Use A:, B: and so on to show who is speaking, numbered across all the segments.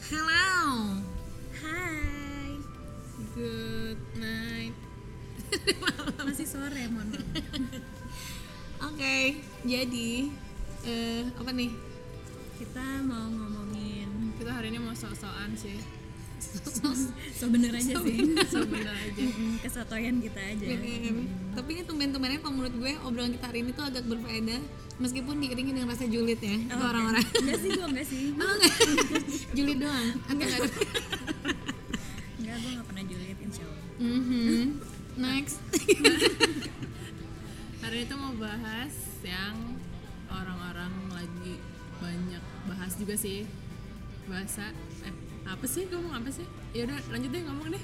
A: Hello.
B: Hai.
A: Good night.
B: Masih sore, mohon maaf.
A: Oke, jadi eh apa nih?
B: Kita mau ngomongin
A: Kita hari ini mau sok-sokan sih.
B: so bener aja sih.
A: Sok bener aja.
B: Mm, Kesotoyan kita aja.
A: Mm. Tapi ini tumben-tumbennya kalau menurut gue obrolan kita hari ini tuh agak berfaedah meskipun diiringi dengan rasa julid ya ke orang-orang.
B: Enggak sih, gua enggak sih.
A: Oh, enggak. julid doang. Atau enggak ada?
B: Enggak, gua enggak pernah julid insya Allah.
A: Mhm. Next.
C: Hari itu mau bahas yang orang-orang lagi banyak bahas juga sih bahasa eh, apa sih ngomong apa sih? Ya udah lanjut deh ngomong deh.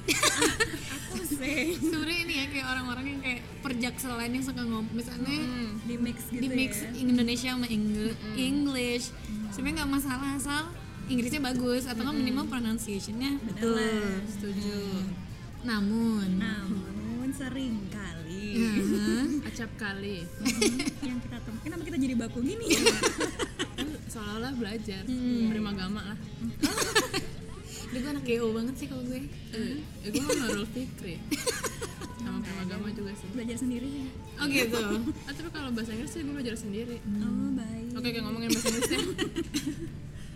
B: Pusing.
A: Sebenarnya ini ya kayak orang-orang yang kayak perjakselan yang suka ngomong misalnya
B: Di mix gitu
A: di mix
B: ya.
A: Indonesia sama Inggris English sebenarnya nggak masalah asal Inggrisnya bagus atau nggak minimal pronunciationnya
B: Betul.
C: Setuju.
A: namun Uh-huh.
B: Namun sering kali
A: Heeh.
C: Acap kali.
B: yang kita temukan kenapa kita jadi baku gini ya?
C: Kan Seolah-olah belajar prima gama lah.
A: Duh, gue anak GO banget sih kalau gue
C: Eh, eh, gue mau Nurul Fikri. Sama prima gama juga sih.
B: Belajar sendiri sih.
A: oh gitu
C: Ah, tapi kalau bahasa Inggris sih gue belajar sendiri.
B: Oh, baik.
C: Oke, kayak ngomongin bahasa Inggris deh.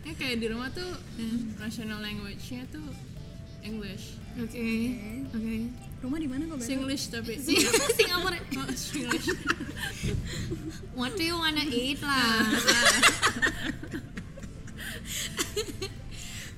C: ya kayak di rumah tuh national language-nya tuh English.
A: oke oke
B: Rumah di mana kok, Beb?
C: Singlish tapi.
A: Sing- Singapura
C: Oh, Singlish.
A: what do you wanna eat lah nah.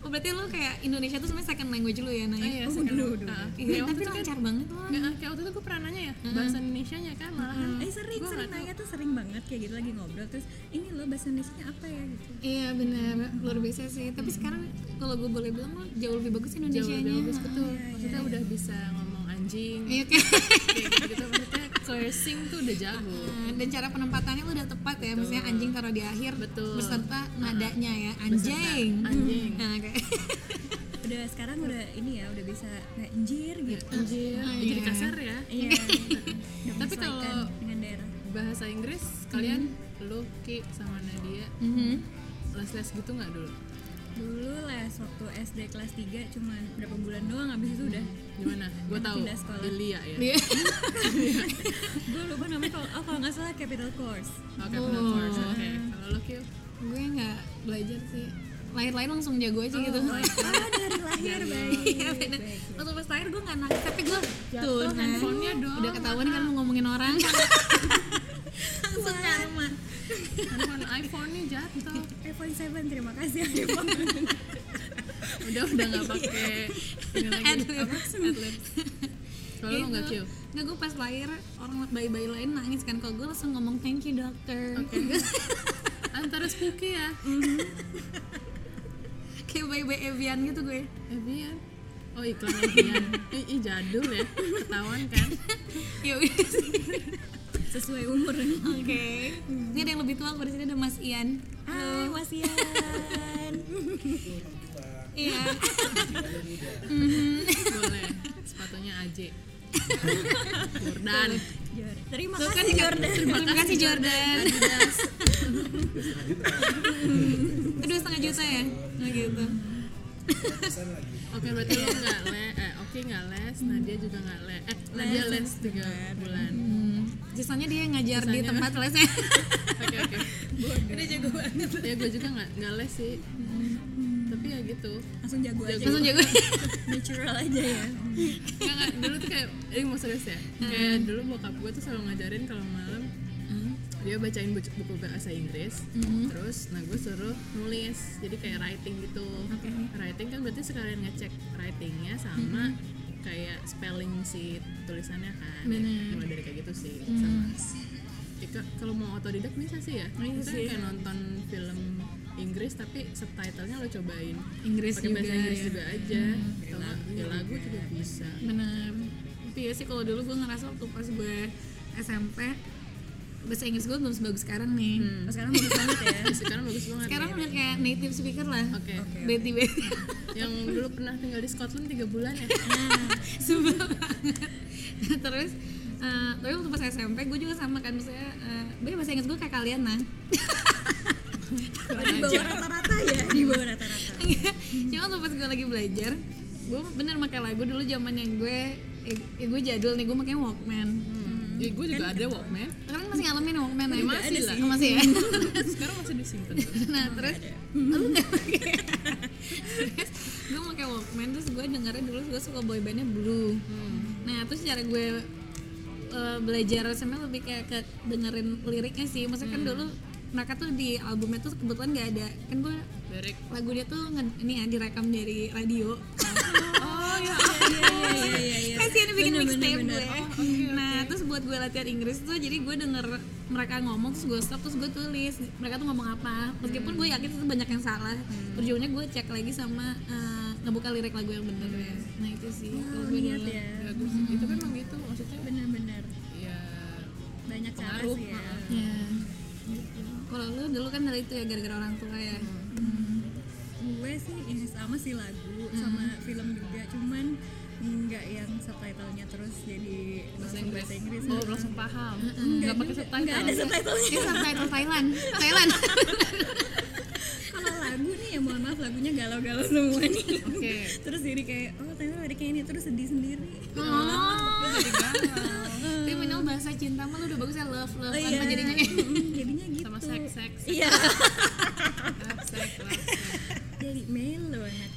A: oh berarti lu kayak Indonesia tuh sebenarnya second language lu ya Naya
C: Iya,
B: Oh,
C: sekarang.
B: dulu, dulu.
C: Ah,
A: Iya,
C: kayak waktu
A: tapi
C: itu kan,
A: lancar banget lah
C: nggak, kayak waktu itu gue pernah nanya ya, bahasa Indonesia-nya kan malahan.
B: Eh sering,
C: Gua
B: sering
C: nggak
B: nanya tuh sering banget kayak gitu lagi ngobrol terus ini loh bahasa Indonesia apa ya gitu.
A: Iya benar luar biasa sih. Tapi sekarang kalau gue boleh bilang mah jauh lebih bagus
C: Hmm. Jauh
A: Indonesia
C: lebih bagus
A: nya.
C: betul. Maksudnya udah bisa ngomong anjing.
A: Iya kan.
C: kayak gitu maksudnya cursing tuh udah jago.
A: Dan cara penempatannya udah tepat ya. Maksudnya anjing taruh di akhir.
C: Betul. Nah,
A: Beserta nadanya ya anjing.
C: Anjing.
A: Nah kayak.
B: Udah sekarang udah ini ya udah bisa kayak anjir gitu.
C: Anjir. Jadi kasar ya.
B: Iya. udah
C: Tapi
B: menyesuaikan
C: kalau-
B: dengan daerah.
C: Bahasa Inggris kalian lu Ki sama Nadia
A: Mhm.
C: les-les gitu nggak dulu?
B: Dulu les waktu SD kelas 3 cuman berapa bulan doang habis itu udah
C: Gimana? Gue tahu.
B: Pindah sekolah.
C: Delia ya.
A: Iya.
B: gue lupa namanya kalau oh, kalau nggak salah capital course.
C: Oke, benar
A: Oh.
C: course. Oke. Kalau lu Ki
A: Gue nggak belajar sih. Lahir-lahir langsung jago aja gitu.
B: Oh, ada dari lahir baik.
A: Iya benar. Waktu pas lahir gue nggak nangis tapi gue tuh nah.
C: handphonenya dong.
A: Udah ketahuan kan mau ngomongin orang. langsung nyamar.
C: handphone iPhone-nya jatuh.
B: iPhone 7 terima kasih iPhone.
C: Udah udah nggak pakai ini lagi.
A: Adlib.
C: Adlib. Kalau lu nggak Ki?
A: Nggak, gue Gitu. pas lahir orang bayi-bayi lain nangis kan Kalau gue langsung ngomong thank you dokter
C: antara spooky ya
A: Kayak bayi-bayi Evian gitu gue
C: Mm. Evian oh iklan Evian ih, ih, jadul ya ketahuan kan
A: Ya udah sih.
B: Sesuai umur.
A: Oke Ini ada yang lebih tua, gue di sini ada Mas Ian
B: Hai Mas Ian.
A: Iya
C: boleh sepatunya AJ Jordan
B: Jor- Terima
A: Tuh kan
B: kasih Jordan.
A: Terima kasih Jordan Aduh setengah juta ya Nah gitu
C: oke berarti lu nggak le eh oke nggak les Nadia juga nggak le eh Nadia les Mm. tiga bulan
A: hmm. Sisanya dia ngajar di tempat lesnya
C: oke oke
B: Ini jago banget.
C: ya gue juga nggak nggak les sih Mm. tapi ya gitu
B: Langsung jago aja.
A: Langsung jago
B: Natural aja ya.
C: Nggak, nggak. dulu tuh kayak ini mau serius ya kayak dulu bokap gue tuh selalu ngajarin kalau malam dia bacain buku, buku bahasa Inggris terus nah gue suruh nulis jadi kayak writing gitu writing kan berarti sekalian ngecek writingnya sama kayak spelling si tulisannya kan ya, mulai dari kayak gitu sih sama ya, ka- kalau mau otodidak bisa sih ya kita kayak nonton film Inggris tapi subtitlenya lo cobain
A: Hmm. Inggris
C: pakai bahasa Inggris
A: ya.
C: juga aja atau nggak, ya lagu juga bisa
A: Bener. Tapi ya sih kalau dulu gue ngerasa waktu pas gue SMP bahasa Inggris gue belum sebagus sekarang nih.
B: Oh,
C: Hmm.
B: sekarang bagus banget ya.
C: sekarang bagus banget ya.
A: Sekarang udah kayak native speaker lah.
C: Iya, oke
A: Beti beti.
C: yang dulu pernah tinggal di Scotland tiga bulan ya
A: Sebel banget. Terus eh, tapi waktu pas SMP gue juga sama kan misalnya eh, "Be, bahasa Inggris gue kayak kalian nah
B: Oh, Di bawah rata-rata ya di bawah rata-rata
A: cuma tuh pas gue lagi belajar gue bener pakai lagu dulu zaman yang gue eh, eh, gue jadul nih gue pakai walkman
C: Ya, gue juga ada Walkman.
A: kalian masih ngalamin walkman ya
C: Juga ada sih.
A: Oh, masih ya
C: Sekarang masih disimpan.
A: nah terus lu nggak pakai terus gue pakai walkman terus gue dengerin dulu gue suka boybandnya blue nah terus cara gue eh, belajar SMA lebih kayak ke dengerin liriknya sih maksudnya kan dulu mereka tuh di albumnya tuh kebetulan nggak ada kan gue
C: Derek.
A: lagu dia tuh nge- ini ya direkam dari radio
C: Oh ya.
B: iya iya iya
A: kasihan bikin
B: Bener,
A: mixtape
B: bener,
A: gue nah terus buat gue latihan Inggris tuh jadi gue denger mereka ngomong terus gue stop terus gue tulis mereka tuh ngomong apa meskipun gue yakin itu banyak yang salah ujungnya gue cek lagi sama eh, ngebuka lirik lagu yang bener ya nah itu sih
B: Wow,
A: kalau gue
B: niat
A: dulu.
B: ya
C: Ya, gue sih- itu kan emang gitu maksudnya
B: bener-bener
C: ya
B: banyak cara
C: Pengaruh,
B: sih ya
A: ya kalau lu dulu kan dari itu ya gara-gara orang tua ya
B: gue sih ya sama sih lagu sama
C: Mm-hmm.
B: film juga cuman nggak yang subtitlenya terus jadi
C: bahasa
B: langsung
C: Inggris.
B: bahasa Inggris ya.
C: Oh, langsung paham. Enggak pakai subtitle.
B: nggak ada subtitlenya
A: Ini subtitle Thailand Thailand
B: kalau lagu nih ya mohon maaf lagunya galau-galau semua nih
C: Oke.
B: terus jadi kayak oh ternyata ada kayak ini terus sedih sendiri
A: oh tapi minimal bahasa cinta mah lu udah bagus ya love love tanpa jadinya kayak
B: Mm, Oh, jadinya gitu
C: Sama seks, seks,
B: iya
C: seks, seks, seks.
B: jadi melo anak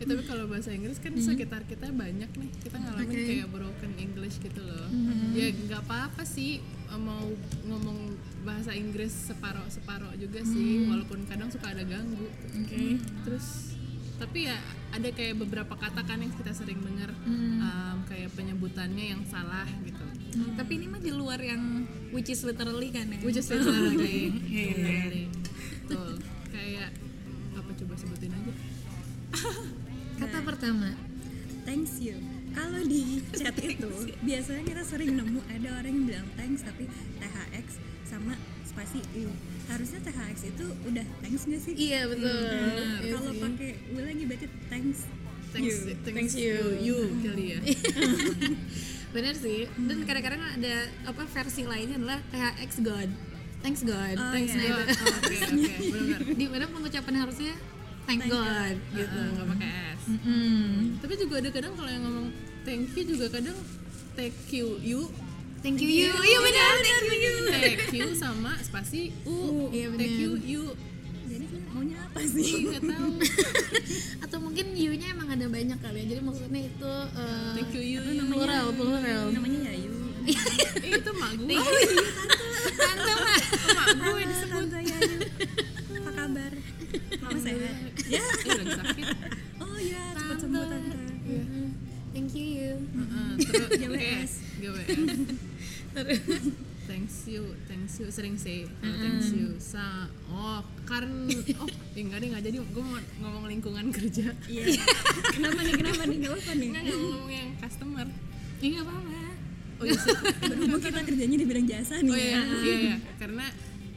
C: Ya, tapi kalau bahasa Inggris kan sekitar kita banyak nih kita ngalamin kayak broken English gitu loh ya nggak apa-apa sih eh, mau ngomong bahasa Inggris separo separo juga sih walaupun kadang suka ada ganggu Mm-hmm. terus tapi ya ada kayak beberapa kata kan yang kita sering dengar em, kayak penyebutannya yang salah gitu
A: Tapi ini mah di luar yang which is literally kan ya.
C: which is literally literally. Betul. kayak apa coba sebutin aja
A: Kata pertama.
B: thanks you kalau di chat itu biasanya kita sering nemu ada orang yang bilang thanks tapi THX sama spasi you harusnya THX itu udah thanks gak sih
A: Iya betul.
B: Nah, kalau pakai gue lagi berarti thanks
C: thanks
B: you
C: thanks, you you kali ya
A: Bener sih. Dan kadang-kadang ada apa versi lainnya adalah THX God. Thanks God.
B: Oh,
A: Thanks
B: iya.
A: God.
C: Oh, oke oke benar
A: Di mana pengucapan harusnya thank,
B: Thank
A: God,
B: God.
A: gitu.
C: gitu nggak pakai s
A: Mm.
C: tapi juga ada kadang kalau yang ngomong thank you juga kadang thank you you
A: Thank you you. Iya benar, thank you you.
C: thank you sama spasi u
A: Iya,
C: thank
A: benar.
C: you you
B: jadi kalian maunya apa sih
C: nggak tahu
A: Atau mungkin you-nya emang ada banyak kali ya. Jadi maksudnya itu eh,
C: thank you you you
A: plural, plural.
B: namanya Yayu
C: Eh, itu mak gue
A: Tante mah.
C: mak gue disebut
B: Tante Yayu apa kabar mama sehat
C: ya eh, lagi sakit
B: oh ya cepet sembuh tante
A: Iya. Thank you you.
C: Heeh, terus
B: GWS.
C: GWS thanks you thanks you sering say oh, thanks you sa oh karena oh ya enggak deh enggak jadi gue mau ngomong lingkungan kerja
B: iya kenapa nih kenapa nih nggak apa nih
C: enggak enggak ngomong yang customer
A: Iya apa-apa.
C: oh iya sih.
B: berhubung kita kerjanya di bidang jasa nih
C: oh iya,
B: ya.
C: iya, iya. karena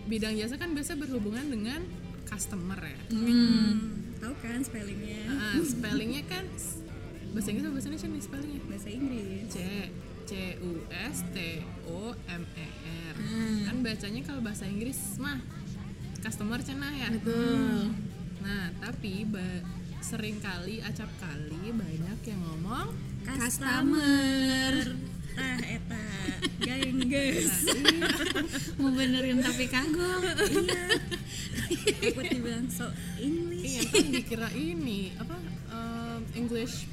C: bidang jasa kan biasa berhubungan dengan customer ya
B: Iya. Hmm, tahu kan spellingnya
C: Ah, spellingnya kan bahasa Inggris apa bahasa Indonesia nih spellingnya
B: bahasa Inggris
C: C C U S T O M E R kan bacanya kalau bahasa Inggris mah customer cenah ya
A: Betul.
C: nah tapi ba- sering kali acap kali banyak yang ngomong
A: Customer.
B: tah Ah, eta gengges
A: Mau benerin tapi kagum.
B: iya takut dibilang so English
C: iya kan dikira ini apa em, English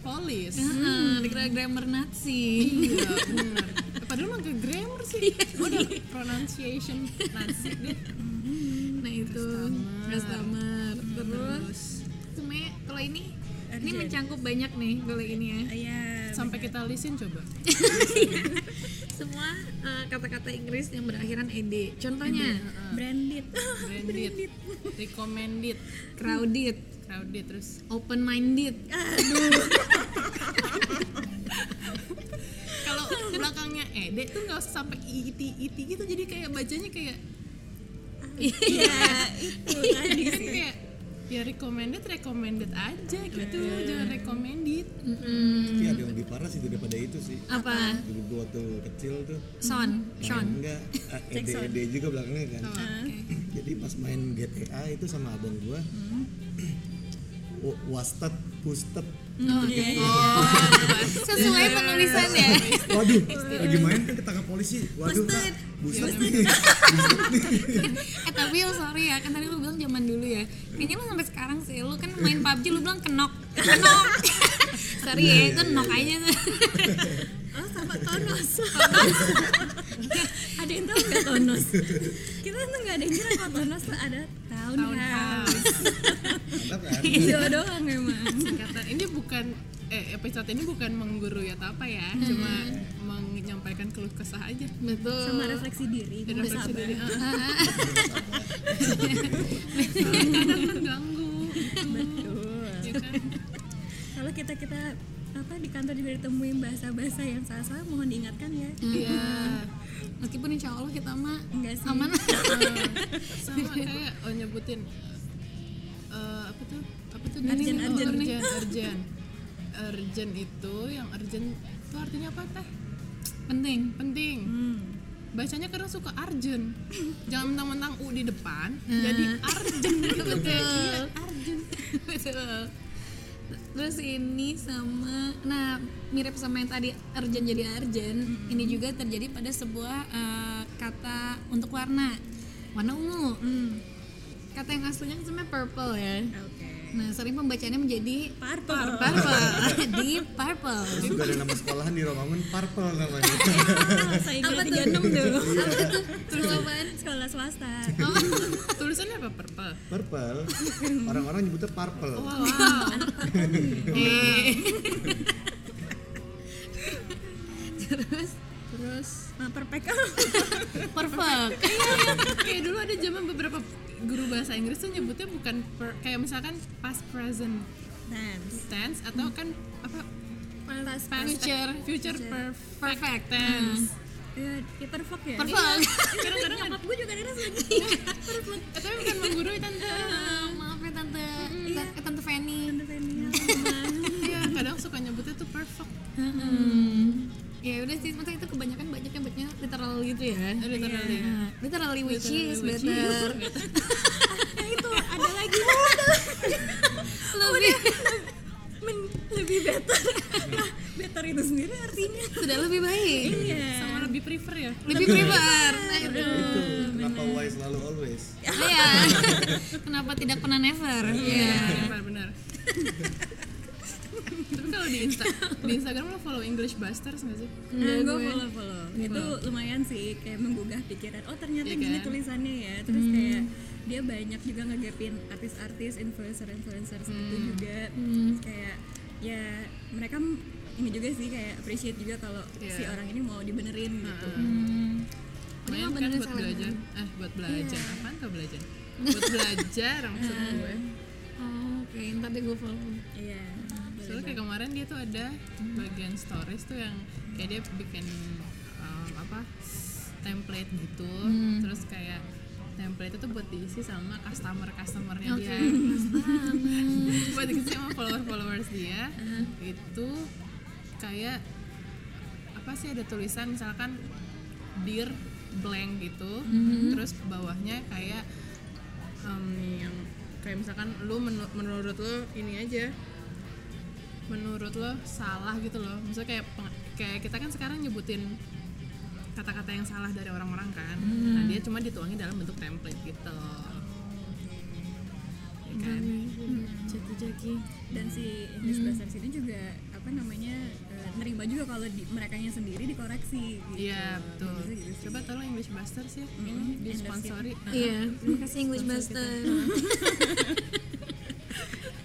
C: police
A: Heeh, Dikira grammar Nazi.
C: Iya, bener. Padahal mah ke grammar Iya sih. Gue udah pronunciation Nazi deh.
A: Nah itu customer. Terus ya?
C: Terus
A: sebenarnya kalau ini ini
B: Urgent.
A: mencangkup banyak nih kalau ini ya.
B: iya
C: sampai kita lisin coba.
A: Semua eh, kata-kata Inggris yang berakhiran ed. Contohnya
B: branded
C: Branded, recommended,
A: crowded,
C: crowded terus.
A: open minded.
C: Kalau belakangnya ed tuh nggak usah sampai it it gitu jadi kayak bacanya kayak
B: iya itu tadi
C: kan kayak ya recommended recommended aja gitu jangan recommended
D: Tapi ada yang lebih parah sih daripada itu sih.
A: Apa?
D: Dulu gua waktu kecil tuh.
A: Son,
D: main Ah,
A: Sean.
D: Enggak, ede-ede juga belakangnya kan.
C: Oke.
D: Jadi jadi pas main GTA itu sama abang gua wa- wastat pustet
B: Oh, Iya.
A: sesuai penulisannya
D: waduh lagi main kan ketangkap polisi waduh kak bustet nih
A: eh tapi lo sorry ya kan tadi lu bilang zaman dulu ya kayaknya lu sampai sekarang sih lu kan main PUBG lu bilang kenok kenok sorry ya itu knock aja tuh
B: Oh sama Tonos. ada yang tahu nggak Tonos? Kita tuh nggak ada yang kira kalau Tonos tuh ada townhouse.
D: mantap kan
B: Itu doang emang.
C: Singkatan ini bukan eh episode ini bukan menggurui atau apa ya, cuma menyampaikan keluh kesah aja.
A: betul
B: Sama refleksi diri.
C: Dan refleksi
B: sabar.
C: diri. Kadang mengganggu.
B: Betul.
C: Ya kan?
B: Kalau kita kita apa di kantor juga ditemuin bahasa-bahasa yang salah-salah mohon diingatkan ya.
A: Iya. meskipun insya Allah kita mah
B: Enggak sih.
A: aman
C: Sama kayak oh nyebutin eh, apa tuh? Apa tuh?
B: Urgent,
C: Ini nih, oh,
B: urgent.
C: urgent, urgent. Urgent itu yang urgent itu artinya apa teh?
A: penting
C: Penting.
B: Hmm.
C: Bacanya kadang suka urgent. Jangan mentang-mentang u di depan, jadi
B: Hmm.
C: urgent gitu kayak iya, urgent.
A: Betul. Terus ini sama, nah mirip sama yang tadi arjen jadi arjen, ini juga terjadi pada sebuah eh, kata untuk warna, warna ungu. Kata yang aslinya kan sebenarnya purple ya.
B: Mm. Oke. Oh.
A: Nah sering pembacanya menjadi
B: Purple.
A: purple, deep purple.
D: terus juga ada nama sekolahan di Romangun Parpel namanya
B: Saya ingat 36 tuh.
A: Apa tuh? Terus apaan?
B: Sekolah swasta.
C: Oh, tulisannya apa purple?
D: Purple orang-orang nyebutnya Parpel
C: Wow.
B: Iya.
A: Terus
C: Terus
B: Nah, perfect.
A: perfect.
C: kayak dulu ada zaman beberapa guru bahasa Inggris tuh nyebutnya bukan per- kayak misalkan past present
B: Tense.
C: tense atau kan apa
B: Past
C: future future perfect tense.
B: Ya, ya perfect ya.
A: Perfect.
C: Kadang-kadang
B: Nyokap gue juga ada suka. Perfect.
C: eh, tapi bukan menggurui tante.
A: Eh, Maaf ya tante, Ta- tante Fanny.
B: Tante Feni, Alma.
C: Iya, kadang suka nyebutnya tuh perfect.
A: Hmm. Ya udah sih, maksudnya itu kebanyakan banyak yang bacanya literal gitu ya.
C: Literally.
A: Nah, literally which
C: Literally
A: is
C: which
A: better.
B: Nah, itu ada lagi
A: lebih
B: Men- lebih better Nah, better itu sendiri artinya
A: sudah lebih baik.
B: iya
C: Sama lebih prefer ya.
A: Lebih prefer. Aduh.
D: itu kenapa why selalu always
A: Iya. Kenapa tidak pernah never? Iya.
C: Benar, benar. tapi kalau di Insta, di Instagram lo follow English Busters nggak sih?
A: Iya,
B: nah, gue follow follow itu lumayan sih kayak menggugah pikiran oh ternyata gini tulisannya ya terus kayak dia banyak juga ngegapin artis-artis influencer influencer itu juga kayak ya mereka m- ini juga sih kayak appreciate juga kalau si orang ini mau dibenerin gitu
A: Hmm.
C: Lumayan kan buat belajar. Eh, buat belajar. Apaan tuh belajar? Buat belajar maksud gue.
A: Oh, Oke, ntar deh gue follow.
B: iya
C: Soalnya kayak kemarin dia tuh ada bagian stories tuh yang kayak dia bikin um, apa template gitu, terus kayak template itu buat diisi sama customer customernya dia, buat diisi sama follower followers dia, itu kayak apa sih ada tulisan misalkan dear blank gitu, terus bawahnya kayak um, yang kayak misalkan lu menu- menurut lu ini aja menurut lo salah gitu loh misalnya kayak peng- kayak kita kan sekarang nyebutin kata-kata yang salah dari orang-orang kan nah dia cuma dituangin dalam bentuk template gitu ya kan
A: Jaki-jaki.
B: dan si English Blasters ini juga apa namanya eh, nerima juga kalau di mereka sendiri dikoreksi gitu.
C: iya betul coba tolong English Busters ya ini disponsori
A: Iya, terima kasih English Buster.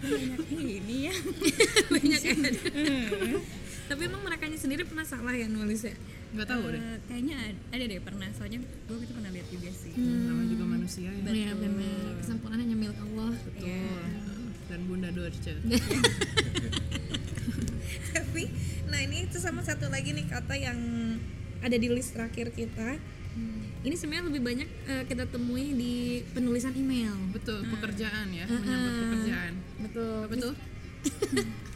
B: banyak ini ya
A: Banyak yang ada. Tapi emang merekanya sendiri pernah salah ya nulisnya?
C: nggak tahu deh
B: Eh, kayaknya ada, ada deh pernah soalnya gue itu pernah lihat juga sih
C: namanya juga manusia ya
A: Iya benar. Kesempurnaan hanya milik Allah. Iya.
C: dan Bunda Dorce
E: tapi nah ini itu sama satu lagi nih kata yang ada di list terakhir kita
A: Ini sebenarnya lebih banyak eh, kita temui di penulisan email.
C: betul pekerjaan ya menyambut pekerjaan
A: Betul.
C: apa tuh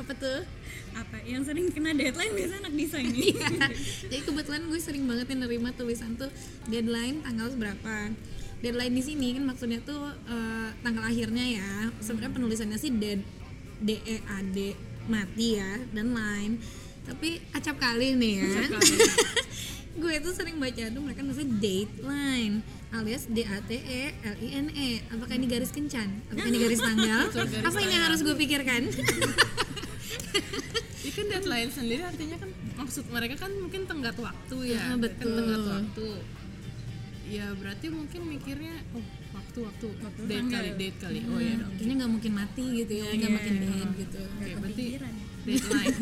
A: Apa tuh?
B: apa yang sering kena deadline biasanya anak desain nih
A: Iya. Jadi kebetulan gue sering banget yang nerima tulisan tuh deadline tanggal berapa. deadline di sini kan maksudnya tuh eh, tanggal akhirnya ya sebenarnya penulisannya sih dead d e a d mati ya dan lain tapi acap kali nih ya gue tuh sering baca tuh mereka nulisnya dateline alias D A T E L I N E apakah ini garis kencan apakah ini garis tanggal apa ini yang harus gue pikirkan
C: Ya kan deadline sendiri artinya kan maksud mereka kan mungkin tenggat waktu ya.
A: Ah,
C: Kan
A: betul.
C: tenggat waktu. Ya berarti mungkin mikirnya oh waktu-waktu date kali date
A: iya.
C: kali. Oh ya dong.
A: ini nggak mungkin mati gitu ya nggak mungkin dead gitu
C: Oke, berarti deadline.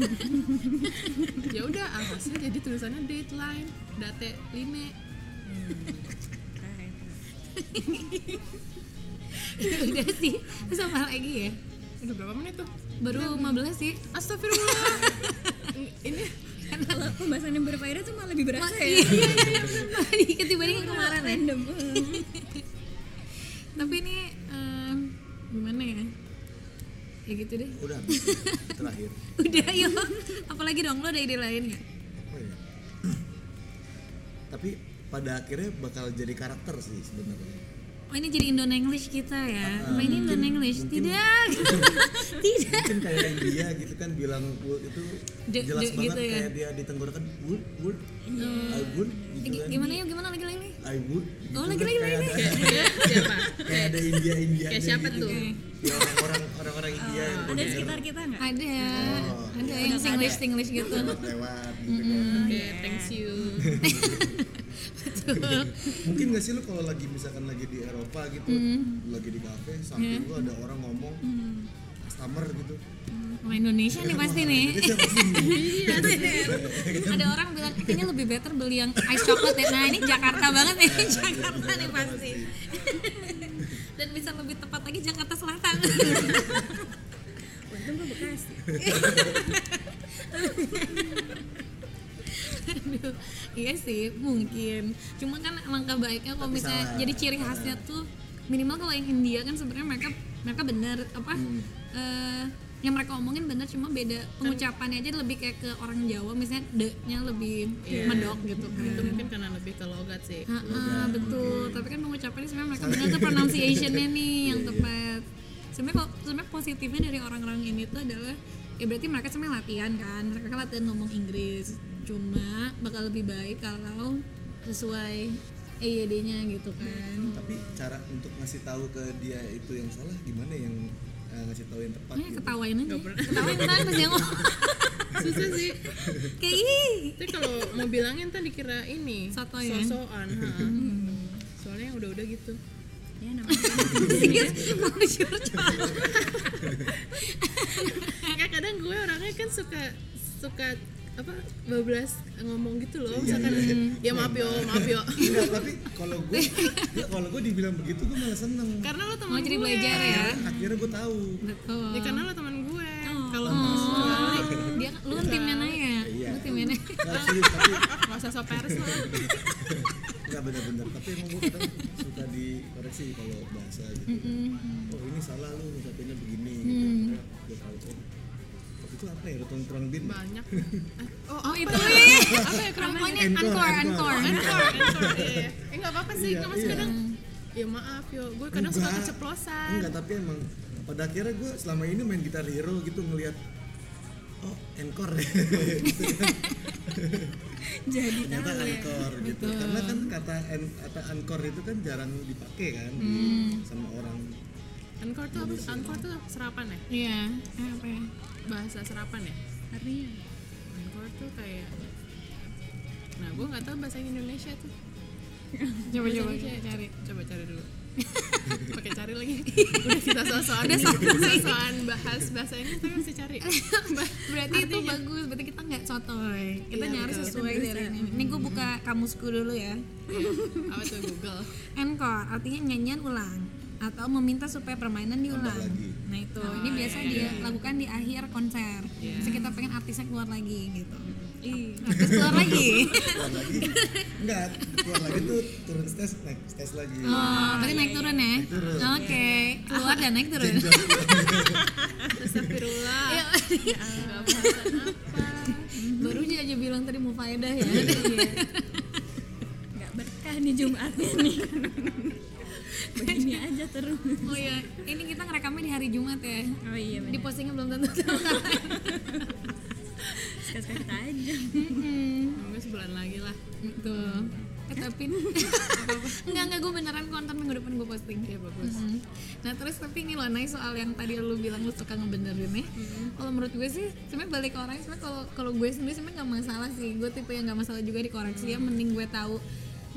C: ya udah alhasil jadi tulisannya deadline, date line.
A: udah sih terus apa lagi ya
C: Udah berapa menit tuh?
A: baru 15 sih
C: Astagfirullah. Ini
B: kalau pembahasan yang berfaedah tuh malah lebih berasa ya
A: dikit dibandingin kemarin ya
B: random Hmm,
A: tapi ini em, gimana ya ya gitu deh
D: udah terakhir
A: udah yuk apalagi dong lo ada ide lain nggak
D: apa ya? tapi pada akhirnya bakal jadi karakter sih sebenarnya
A: Oh ini jadi Indon English kita ya. Apa ini Indon English? Tidak. Tidak.
D: mungkin kayak India gitu kan bilang wood itu
A: De- de-
D: jelas banget
A: gitu ya.
D: kayak dia di tenggorokan wood wood I would
A: G-
D: gitu kan
A: Eh, Gimana yuk? Gimana lagi lagi?
D: I would gitu
A: Oh,
D: kan.
A: lagi, lagi,
D: kayak
A: lagi.
D: ada
C: ya, siapa?
D: kayak ada India India
C: Kayak siapa tuh?
D: ya orang-orang orang-orang
A: Oh,
D: India gitu
B: ada
D: kan.
B: di sekitar kita nggak
A: Ada. Ada yang English English gitu.
D: lewat gitu kan
A: Hmm.
C: Oke,
A: Iya.
C: thanks you.
A: Betul.
D: mungkin gak sih lu kalau lagi misalkan lagi di Eropa gitu
A: Hmm.
D: lagi di kafe samping lu ada orang ngomong customer gitu
A: Sama Indonesia nih pasti nih.
D: Indonesia pasti
A: Ada orang bilang kayaknya lebih better beli yang ice chocolate ya. Nah ini Jakarta banget nih. Jakarta nih pasti. Dan bisa lebih tepat lagi Jakarta Selatan.
B: untung gue bekasi
A: Aduh, iya sih mungkin. Cuma kan langkah baiknya kalau
D: Tapi
A: misalnya
D: salah.
A: jadi ciri khasnya tuh minimal kalau yang India kan sebenarnya mereka mereka benar apa
D: Hmm.
A: eh, yang mereka omongin benar cuma beda pengucapannya aja lebih kayak ke orang Jawa misalnya de-nya lebih
D: Iya.
A: medok gitu kan.
C: Itu mungkin karena lebih ke logat sih.
A: Ha-ha, betul. Tapi kan mengucapkannya sebenarnya mereka benar tuh pronunciation-nya nih yang tepat. Sebenarnya kalau sebenarnya positifnya dari orang-orang ini tuh adalah ya berarti mereka sebenarnya latihan kan. Mereka latihan ngomong Inggris. Cuma bakal lebih baik kalau sesuai EYD-nya gitu kan.
D: tapi cara untuk ngasih tahu ke dia itu yang salah gimana yang eh, ngasih tahu yang tepat
A: Makanya Oh
D: gitu
A: ya, ketawain aja. Ketawain kan pas dia ngomong.
C: Susah sih.
A: Kayak ih.
C: Tapi kalau mau bilangin tadi kira ini
A: Soto ya?
C: sosokan. ha. Soalnya yang udah-udah gitu.
B: ya namanya
A: Serius, mau jujur coy.
C: Enggak kadang gue orangnya kan suka suka apa bablas ngomong gitu loh
D: Iya,
C: misalkan ya maaf yo maaf yo
D: Enggak, Iya, tapi kalau gue ya, kalau gue dibilang begitu gue malah seneng
C: karena lo teman
A: Mau jadi
C: gue.
A: belajar ya.
D: akhirnya gue tahu
A: Betul.
C: Ya, karena lo teman gue kalau
A: Oh, dia lu kan timnya Naya.
D: Iya.
A: Lu timnya Naya.
D: nggak serius tapi
C: nggak usah sok pers lo
D: nggak benar-benar tapi emang gue kadang suka dikoreksi kalau bahasa gitu oh ini salah lu ngucapinnya begini gitu
A: Mm.
D: Akhirnya gue tahu oh waktu itu apa ya rotong terang bin
C: banyak oh
A: Oh, itu.
C: apa ya kurang
A: Oh, ini
D: Encore,
A: encore,
D: encore.
A: encore.
C: Encore, encore, iya, iya. Eh nggak apa-apa sih,
D: Iya,
C: gue masih
D: iya.
C: kadang ya maaf yo, gue kadang suka
D: Enggak.
C: keceplosan.
D: enggak tapi emang pada akhirnya gue selama ini main gitar hero gitu ngelihat oh encore gitu kan.
B: jadi
D: ternyata encore gitu karena kan kata en, kata encore itu kan jarang dipakai kan di- sama orang
C: Encore tuh apa? Encore tuh serapan ya?
A: Iya, eh, apa ya?
C: Bahasa serapan ya?
B: artinya
C: Encore tuh kayak Nah, gue nggak tahu bahasa Indonesia tuh.
A: Coba coba
C: Indonesia ya?
A: cari.
C: Coba cari dulu. Pakai cari lagi. Udah kita sosokan, udah sosokan bahas bahasa ini tapi masih cari.
A: Berarti itu bagus, berarti kita nggak sotoy. Iya, Kita nyari sesuai
B: Kita
A: dari ini. Ini gue buka kamusku dulu ya.
C: Apa tuh Google?
A: Encore artinya nyanyian ulang atau meminta supaya permainan diulang.
D: lagi.
A: Nah itu, ini biasa dilakukan di akhir konser. Misalnya kita pengen artisnya keluar lagi gitu. Artis keluar lagi.
D: keluar lagi enggak keluar lagi tuh turun stage naik stage lagi
A: Oh, berarti naik turun ya?
D: turun.
A: Oke, keluar dan naik turun.
C: Astagfirullah.
A: Ya,
C: Nggak bahasan apa.
A: Baru dia aja bilang tadi mau
D: Iya.
A: faedah ya.
B: nggak berkah nih Jumatnya nih
A: Oh iya, ya
B: oh iya
A: di
B: benar
A: postingnya belum tentu tahu katanya.
B: suka kita aja
C: Mungkin sebulan lagi lah.
A: Betul. Eh, tapi enggak enggak gue beneran konten minggu depan gue posting ya bagus. Nah terus tapi ini loh Nay soal yang tadi lu bilang lu suka ngebenerin ya. Kalau menurut gue sih sebenarnya balik ke orang sebenarnya kalau kalau gue sendiri sebenarnya nggak masalah sih. Gue tipe yang nggak masalah juga dikoreksi ya. Mending gue tahu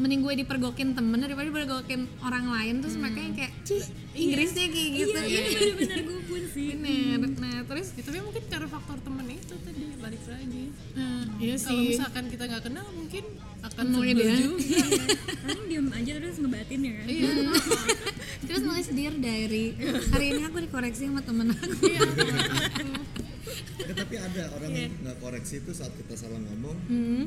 A: mending gue dipergokin temen daripada dipergokin orang lain terus makanya kayak cih Inggrisnya kayak gitu
B: iya
A: Iya.
B: benar-benar gue pun sih
A: Bener. Nah terus
C: Ya, tapi mungkin karena faktor temen itu tadi balik lagi.
A: eh, iya
C: Kalau
A: sih
C: misalkan kita nggak kenal mungkin akan
A: Nemuin
C: sebel
A: dia.
C: juga.
B: Iya. paling diem aja terus ngebatin ya kan
C: Iya.
A: terus nulis dear diary hari ini aku dikoreksi sama temen aku
D: Ya, tapi ada orang yang nggak koreksi itu saat kita salah ngomong,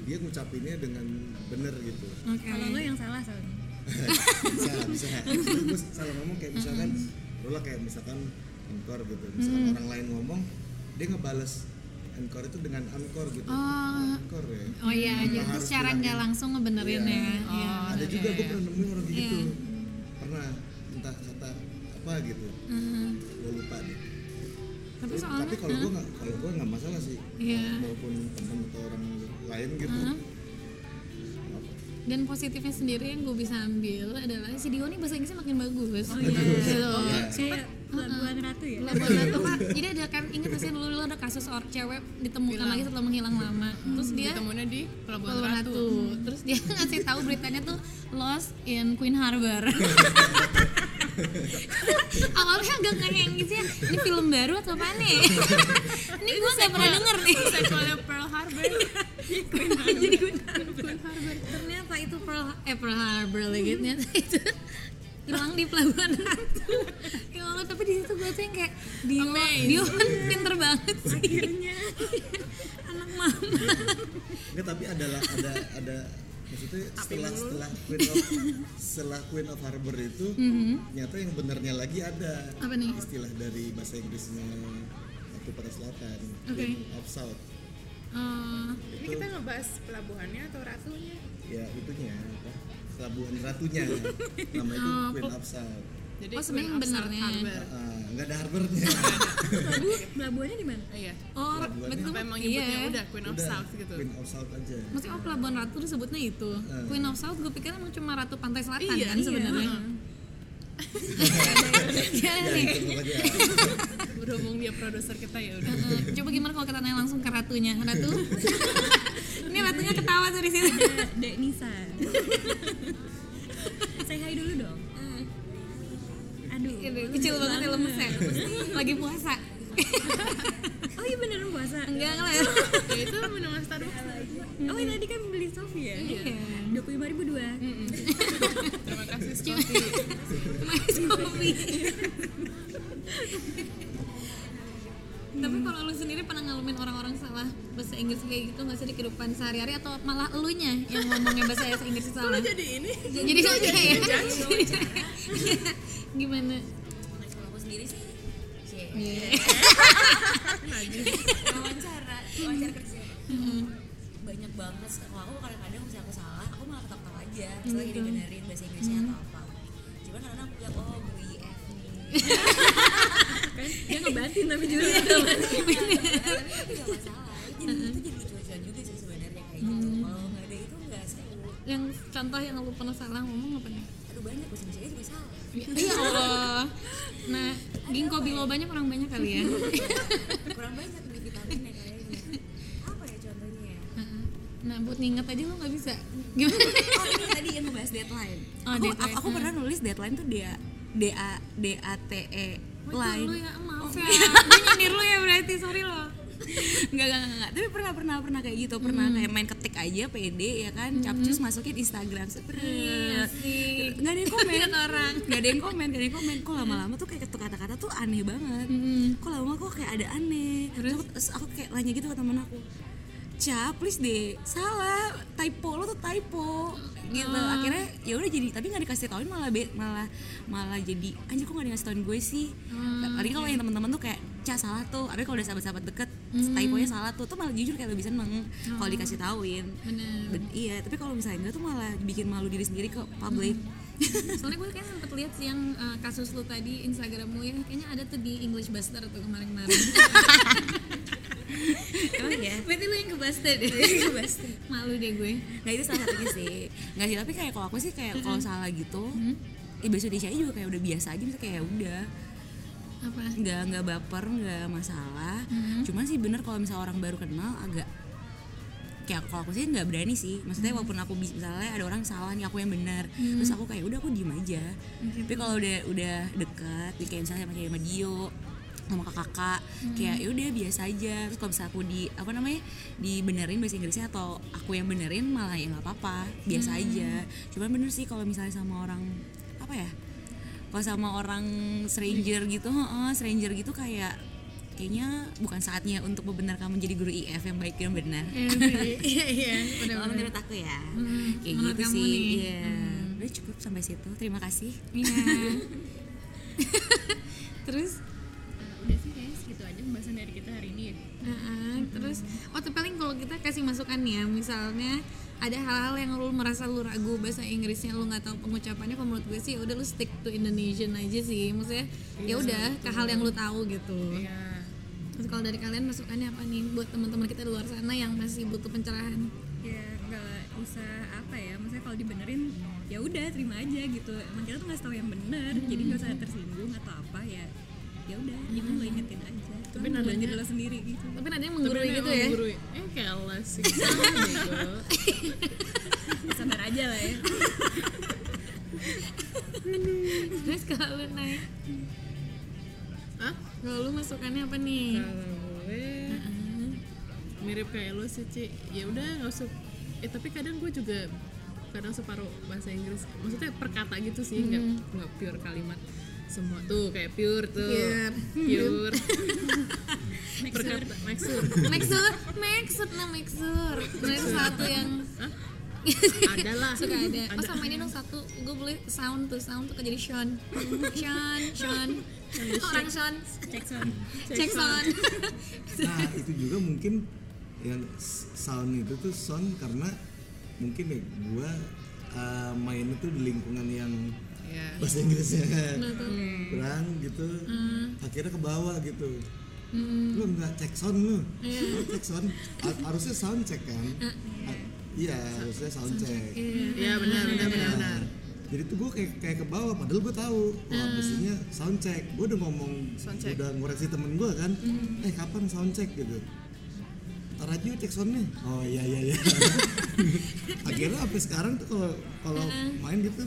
D: dia ngucapinnya dengan bener gitu.
A: Oke.
B: kalau lo yang salah soalnya
D: bisa, bisa. Gue salah ngomong kayak misalkan, lo lah kayak misalkan encore gitu. Misalkan
A: Hmm.
D: orang lain ngomong, dia ngebales encore itu dengan encore gitu.
A: Oh.
D: Encore ya.
A: Oh iya,
D: Tanpa
A: jadi
D: harus
A: secara nggak
D: bilangin.
A: langsung ngebenerin
D: Iya.
A: ya. Iya.
D: ada juga gue pernah nemuin orang kayak gitu. Pernah entah kata apa gitu.
A: Heeh.
D: Gue lupa deh.
A: Tapi
D: Tapi-
A: soalnya
D: tapi kalau gue nggak kalau gue nggak masalah sih
A: Iya.
D: maupun teman atau orang lain gitu
A: Hmm. dan positifnya sendiri yang gue bisa ambil adalah si Dio nih bahasa Inggrisnya makin bagus.
B: oh iya
A: Gitu.
B: kayak pelabuhan ratu ya
A: Level satu, Pak. Jadi ada kan inget gak sih dulu lo ada kasus orang cewek ditemukan lagi setelah menghilang lama. Terus dia
C: Ketemunya di Pelabuhan
A: Pelabuhan
C: Ratu.
A: Ratu. Terus dia ngasih tahu beritanya tuh lost in Queen Harbor. Awalnya agak ngeheng gitu ya. Ini film baru atau apa nih? ini gue nggak pernah denger nih.
C: Sequelnya Pearl Harbor.
A: Jadi Queen Harbor. Ternyata itu Pearl eh Pearl Harbor lagi ternyata itu hilang di pelabuhan Ratu. ya Allah, tapi di situ gue tuh yang kayak Dio,
C: Amazed.
A: Dio kan pinter banget sih. Anak mama.
D: Enggak, tapi adalah ada ada maksudnya setelah setelah Queen of setelah Queen of Harbor itu nyata yang benernya lagi ada
A: Apa nih?
D: istilah dari bahasa Inggrisnya Ratu pada selatan
A: Oke.
D: Queen of South
A: Eh,
E: Ini kita ngebahas pelabuhannya atau ratunya?
D: ya itunya apa pelabuhan ratunya nama itu Queen of South
C: Jadi
A: Oh, sebenarnya
C: Queen of
A: benernya.
C: South Harbor.
D: Ah, nggak ada harbornya
B: Pelabu- pelabuhannya di mana
C: Iya.
A: Oh,
D: Pelabuhan.
A: berarti
C: Apa
A: kamu-
C: emang
A: iya.
C: nyebutnya Ya udah Queen of
D: Udah,
C: South gitu?
D: Queen of South aja
A: Maksudnya oh Pelabuhan Ratu disebutnya itu. Queen of South gue pikir emang cuma Ratu Pantai Selatan
C: Iya,
A: kan
C: iya.
A: sebenarnya. Iya nih.
D: Ya, itu aja
C: Berhubung dia produser kita ya udah.
A: Eh, Coba gimana kalau kita nanya langsung ke ratunya, ratu? Ini ratunya ketawa dari sini.
B: Ada Eh, Dek Nisa Say hi dulu dong
F: Eh.
B: Aduh
A: Gitu, Kecil banget ya lemesnya. Lagi puasa.
B: Oh iya beneran puasa
A: Enggak lah.
C: ya itu minuman Starbucks.
B: Oh iya tadi kan beli Sofi ya
F: Iya.
C: Iya.
B: Dua puluh ribu dua
F: Hmm,
C: Terima kasih Sophie.
A: Mais kopi. Tapi kalau lu sendiri pernah ngalamin orang-orang salah bahasa Inggris kayak gitu nggak sih di kehidupan sehari-hari atau malah elunya yang ngomongnya bahasa Inggris salah?
C: Jadi ini
A: jadi kok ya gimana
F: kalau aku sendiri sih sih wawancara wawancara kerja banyak banget kalau aku kadang-kadang misalnya aku salah aku malah ketawa aja misalnya jadi benerin bahasa Inggrisnya atau apa cuman karena aku bilang oh gue F nih
B: Dia ngebatin tapi juga
F: tapi aku gak masalah jadi itu jadi lucu-lucuan juga sih sebenarnya kayak gitu kalau nggak ada itu nggak seru
A: yang contoh yang lu pernah salah ngomong apa nih
F: aduh banyak bahasa Inggrisnya juga salah
A: ya Allah nah ginkgo bilobanya kurang banyak kali ya
F: kurang banyak nih vitaminnya kayaknya apa ya contohnya ya
A: nah buat nginget aja lu nggak bisa gimana
F: oh ini tadi yang ngebahas deadline.
A: Oh,
F: aku,
A: deadline.
F: aku, aku pernah nulis deadline tuh dia D A D A T E
B: Oh,
A: Wah, itu lu
F: line.
A: ya maaf ya gue nyindir lu ya berarti sorry lo
F: Enggak, enggak, enggak, Tapi pernah, pernah, pernah kayak gitu. Pernah
B: Hmm.
F: kayak main ketik aja, PD ya kan. Capcus masukin Instagram. Iya
A: asik.
F: Gak ada yang komen.
A: Lihat orang.
F: Gak ada yang komen, gak ada yang komen. Kok lama-lama tuh kayak tuh kata-kata tuh aneh banget.
A: Mm-mm.
F: Kok lama-lama kok kayak ada aneh. Terus aku, terus aku kayak nanya gitu ke temen aku. Ca, please deh, salah typo lo tuh typo gitu
A: Ah.
F: akhirnya ya udah jadi tapi nggak dikasih tauin malah be, malah malah jadi anjir kok nggak dikasih tauin gue sih
A: Ah,
F: tapi kalau yang teman-teman tuh kayak Ca salah tuh tapi kalau udah sahabat-sahabat deket typonya salah tuh tuh malah jujur kayak lebih seneng kalau dikasih tauin
A: Ah. bener
F: Ben- iya tapi kalau misalnya enggak tuh malah bikin malu diri sendiri ke publik
A: soalnya gue kayak sempet lihat sih yang eh, kasus lu tadi Instagram lu ya kayaknya ada tuh di English Buster tuh kemarin-kemarin
F: Emang ya?
A: berarti lu yang iya? ke Buster deh malu deh gue
F: Nggak Nah, itu salah satunya sih Nggak sih, tapi kayak kalau aku sih kayak kalau salah gitu Eh bahasa Indonesia juga kayak udah biasa aja, misalnya kayak udah
A: apa
F: nggak nggak baper nggak masalah cuman sih bener kalau misalnya orang baru kenal agak kayak kalau aku sih nggak berani sih maksudnya walaupun aku bis- misalnya ada orang salah nih aku yang benar terus aku kayak udah aku diem aja tapi kalau udah udah dekat kayak misalnya sama kayak sama Dio sama kakak kakak kayak ya udah biasa aja terus kalau misalnya aku di apa namanya dibenerin bahasa Inggrisnya atau aku yang benerin malah ya nggak apa-apa biasa aja cuman bener sih kalau misalnya sama orang apa ya kalau sama orang stranger gitu heeh, stranger gitu kayak kayaknya bukan saatnya untuk membenarkan menjadi guru IF yang baik dan benar
A: iya iya udah
F: kalau menurut aku ya kayak
A: Menurut
F: gitu
A: kamu
F: sih
A: nih.
F: iya udah cukup sampai situ terima kasih
A: terus
C: Eh, udah sih kayaknya segitu aja pembahasan dari kita hari ini ya
A: Heeh, terus oh tapi paling kalau kita kasih masukan nih ya misalnya ada hal-hal yang lu merasa lu ragu bahasa Inggrisnya lu nggak tahu pengucapannya kalau menurut gue sih ya udah lu stick to Indonesian aja sih maksudnya
C: Iya,
A: ya udah ke hal yang lu tahu gitu
C: ya
A: terus kalau dari kalian masukannya apa nih buat teman-teman kita di luar sana yang masih butuh pencerahan
B: ya nggak usah apa ya maksudnya kalau dibenerin ya udah terima aja gitu emang kita tuh nggak tahu yang bener jadi nggak usah
F: Hmm.
B: tersinggung atau apa ya ya udah itu lo ingetin aja tapi
C: nadanya-
B: diri lo sendiri gitu
A: tapi nadanya menggurui gitu ya
C: menggurui eh keles sih Sama bego.
B: sabar aja lah ya
A: terus kalau lu naik
C: Hah?
A: kalau lu masukannya apa nih
C: kalau gue mirip kayak lo sih Ci ya udah nggak usah eh tapi kadang gue juga kadang separuh bahasa Inggris maksudnya perkata gitu sih nggak
A: Hmm.
C: nggak pure kalimat semua tuh kayak pure tuh pure perkata maksud
A: maksud maksud nah maksud nah itu satu yang
C: ada lah
A: suka ada. Oh sama ini dong satu, gue beli sound tuh, sound tuh jadi Sean, Sean, Sean, oh, orang Sean,
B: Jackson
A: cek Sean.
D: nah itu juga mungkin yang s- sound itu tuh sound karena mungkin ya gua eh, main itu di lingkungan yang
C: ya
D: bahasa Inggrisnya
A: Nah tuh,
D: kurang gitu akhirnya ke bawah gitu lu nggak cek sound lu Lu cek sound Har- harusnya sound check kan Ha- iya harusnya sound check
C: ya benar benar benar benar Hmm.
D: Nah, jadi tuh gue kayak kayak ke bawah padahal gue tahu wah mestinya sound check gue udah ngomong
C: Sound check.
D: udah ngoreksi temen gue kan
C: Hmm.
D: eh kapan sound check gitu ntar aja yuk cek soundnya oh iya iya iya akhirnya sampai sekarang tuh kalau kalau
C: Hmm.
D: main gitu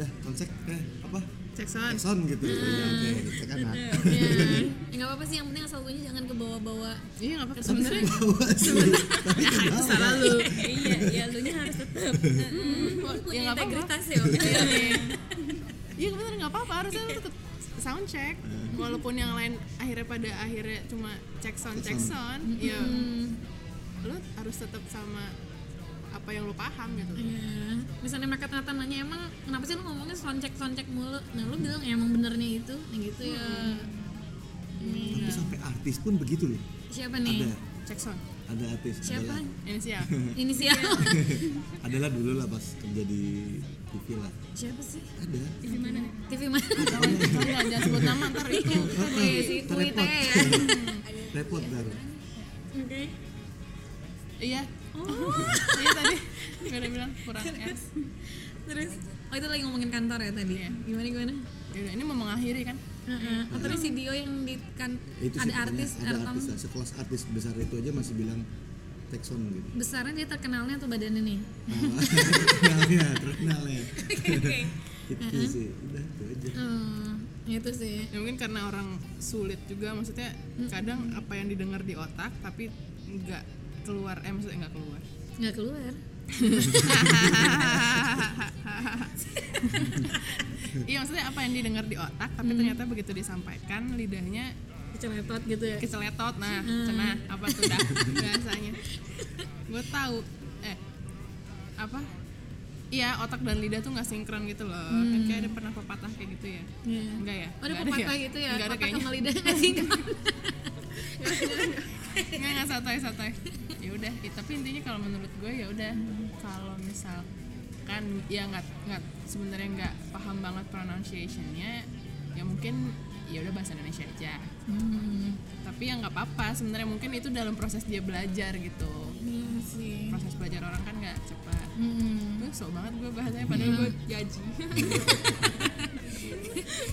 D: dah sound check eh apa
C: cek
D: cek
C: sound Hmm.
D: sound gitu Iya, oke cek kan ah.
A: ya Ya, nggak apa-apa sih yang penting asal bunyi jangan kebawa-bawa.
C: iya nggak apa-apa sebenarnya
D: Bawah sih. Tapi ke
C: itu
D: bawah.
C: salah lu
B: iya ya lu nya harus tetap
F: Hmm.
C: ya nggak apa-apa
B: tas ya oke
C: iya benar nggak apa-apa harusnya lu tetap sound check walaupun yang lain akhirnya pada akhirnya cuma cek sound cek sound ya lu harus tetap sama apa yang lu paham gitu
A: Ya. Misalnya mereka ternyata nanya emang kenapa sih lu ngomongnya soncek soncek mulu? Nah lu bilang "Ya, emang benernya itu, nah, gitu ya. Ini
D: Tapi sampai artis pun begitu loh
A: siapa
D: ada
A: nih?
C: Iya. cek sound
D: ada artis
A: Siapa?
D: adalah-
C: ini ya. siap
A: Inisial.
D: adalah dulu lah pas kerja di TV lah
A: siapa sih?
D: ada
A: TV mana?
C: nggak jangan sebut nama ntar itu
A: Oke, si
D: Ntar
A: Kuit
D: repot.
A: ya.
D: repot dar
C: iya iya tadi gue udah bilang kurang S
A: Terus, oh itu lagi ngomongin kantor ya tadi? Gimana gimana?
C: Yaudah, ini mau mengakhiri kan
A: Heeh. Oh, tapi si Dio yang di kan
D: Iya. itu
A: ada
D: sih pokoknya,
A: artis, um,
D: ada
A: Ertam
D: artis lah. sekelas artis besar itu aja masih bilang tekson gitu
A: besarnya dia terkenalnya tuh badannya nih.
D: Nah, terkenalnya terkenalnya itu Gitu sih udah itu aja
A: Hmm, itu sih.
C: ya mungkin karena orang sulit juga maksudnya kadang apa yang didengar di otak tapi nggak keluar eh maksudnya nggak keluar
A: nggak keluar.
C: iya maksudnya apa yang didengar di otak
A: Mm.
C: tapi ternyata begitu disampaikan lidahnya
A: Keceletot gitu ya.
C: keseletot nah cenah apa tuh dah bahasanya gue tahu eh apa iya otak dan lidah tuh nggak sinkron gitu loh kan kayak ada pernah pepatah kayak gitu ya
A: Mm. Iya.
C: enggak ya
A: Oh, ada
C: Nggak
A: pepatah gitu ya,
C: nggak ada
A: pepatah
C: kayaknya
A: sama lidah nggak sih?
C: nggak nggak santai santai ya udah Eh, tapi intinya kalau menurut gue ya udah kalau misal misalkan ya nggak nggak sebenarnya nggak paham banget pronunciationnya ya mungkin ya udah bahasa Indonesia aja
A: Hmm,
C: tapi ya nggak apa-apa sebenarnya mungkin itu dalam proses dia belajar gitu
A: Iya sih. Hmm.
C: proses belajar orang kan nggak cepat
A: Mm-mm.
C: gue sok banget gue bahasanya padahal gue jaji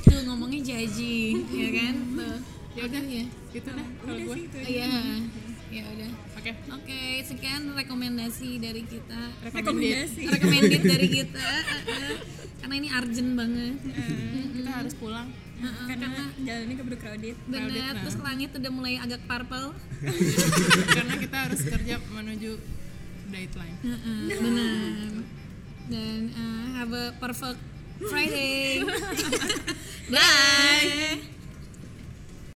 A: Tuh ngomongnya jaji, ya kan? Tuh.
C: ya udah ya gitu dah kalau gue
A: Iya. Ya udah.
C: oke
A: Oke, sekian rekomendasi dari kita.
C: rekomendasi
A: Recommended dari kita. eh, eh. Karena ini urgent banget.
C: Eh, kita harus pulang
B: karena jalannya keburu crowded
A: Bener,
C: Crowded, nah.
A: terus langit udah mulai agak purple.
C: karena kita harus kerja menuju deadline
A: Heeh, Benar. Dan eh, have a perfect Friday. Bye.